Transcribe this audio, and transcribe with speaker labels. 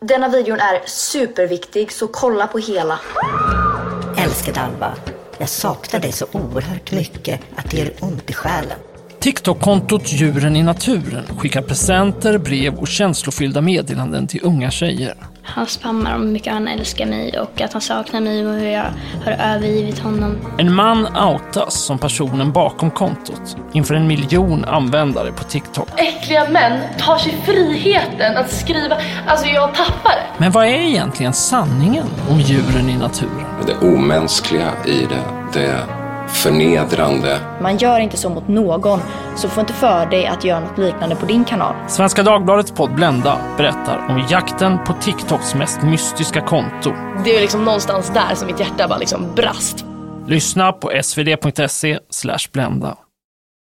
Speaker 1: Denna videon är superviktig, så kolla på hela.
Speaker 2: Älskade Alva, jag saknar dig så oerhört mycket att det gör ont i själen.
Speaker 3: TikTok-kontot Djuren i naturen skickar presenter, brev och känslofyllda meddelanden till unga tjejer.
Speaker 4: Han spammar om hur mycket han älskar mig och att han saknar mig och hur jag har övergivit honom.
Speaker 3: En man outas som personen bakom kontot inför en miljon användare på TikTok.
Speaker 5: Äckliga män tar sig friheten att skriva, alltså jag tappar det.
Speaker 3: Men vad är egentligen sanningen om djuren i naturen?
Speaker 6: Det omänskliga i det, det förnedrande.
Speaker 7: Man gör inte så mot någon, så få inte för dig att göra något liknande på din kanal.
Speaker 3: Svenska Dagbladets podd Blenda berättar om jakten på TikToks mest mystiska konto.
Speaker 5: Det är liksom någonstans där som mitt hjärta bara liksom brast.
Speaker 3: Lyssna på svd.se Blenda.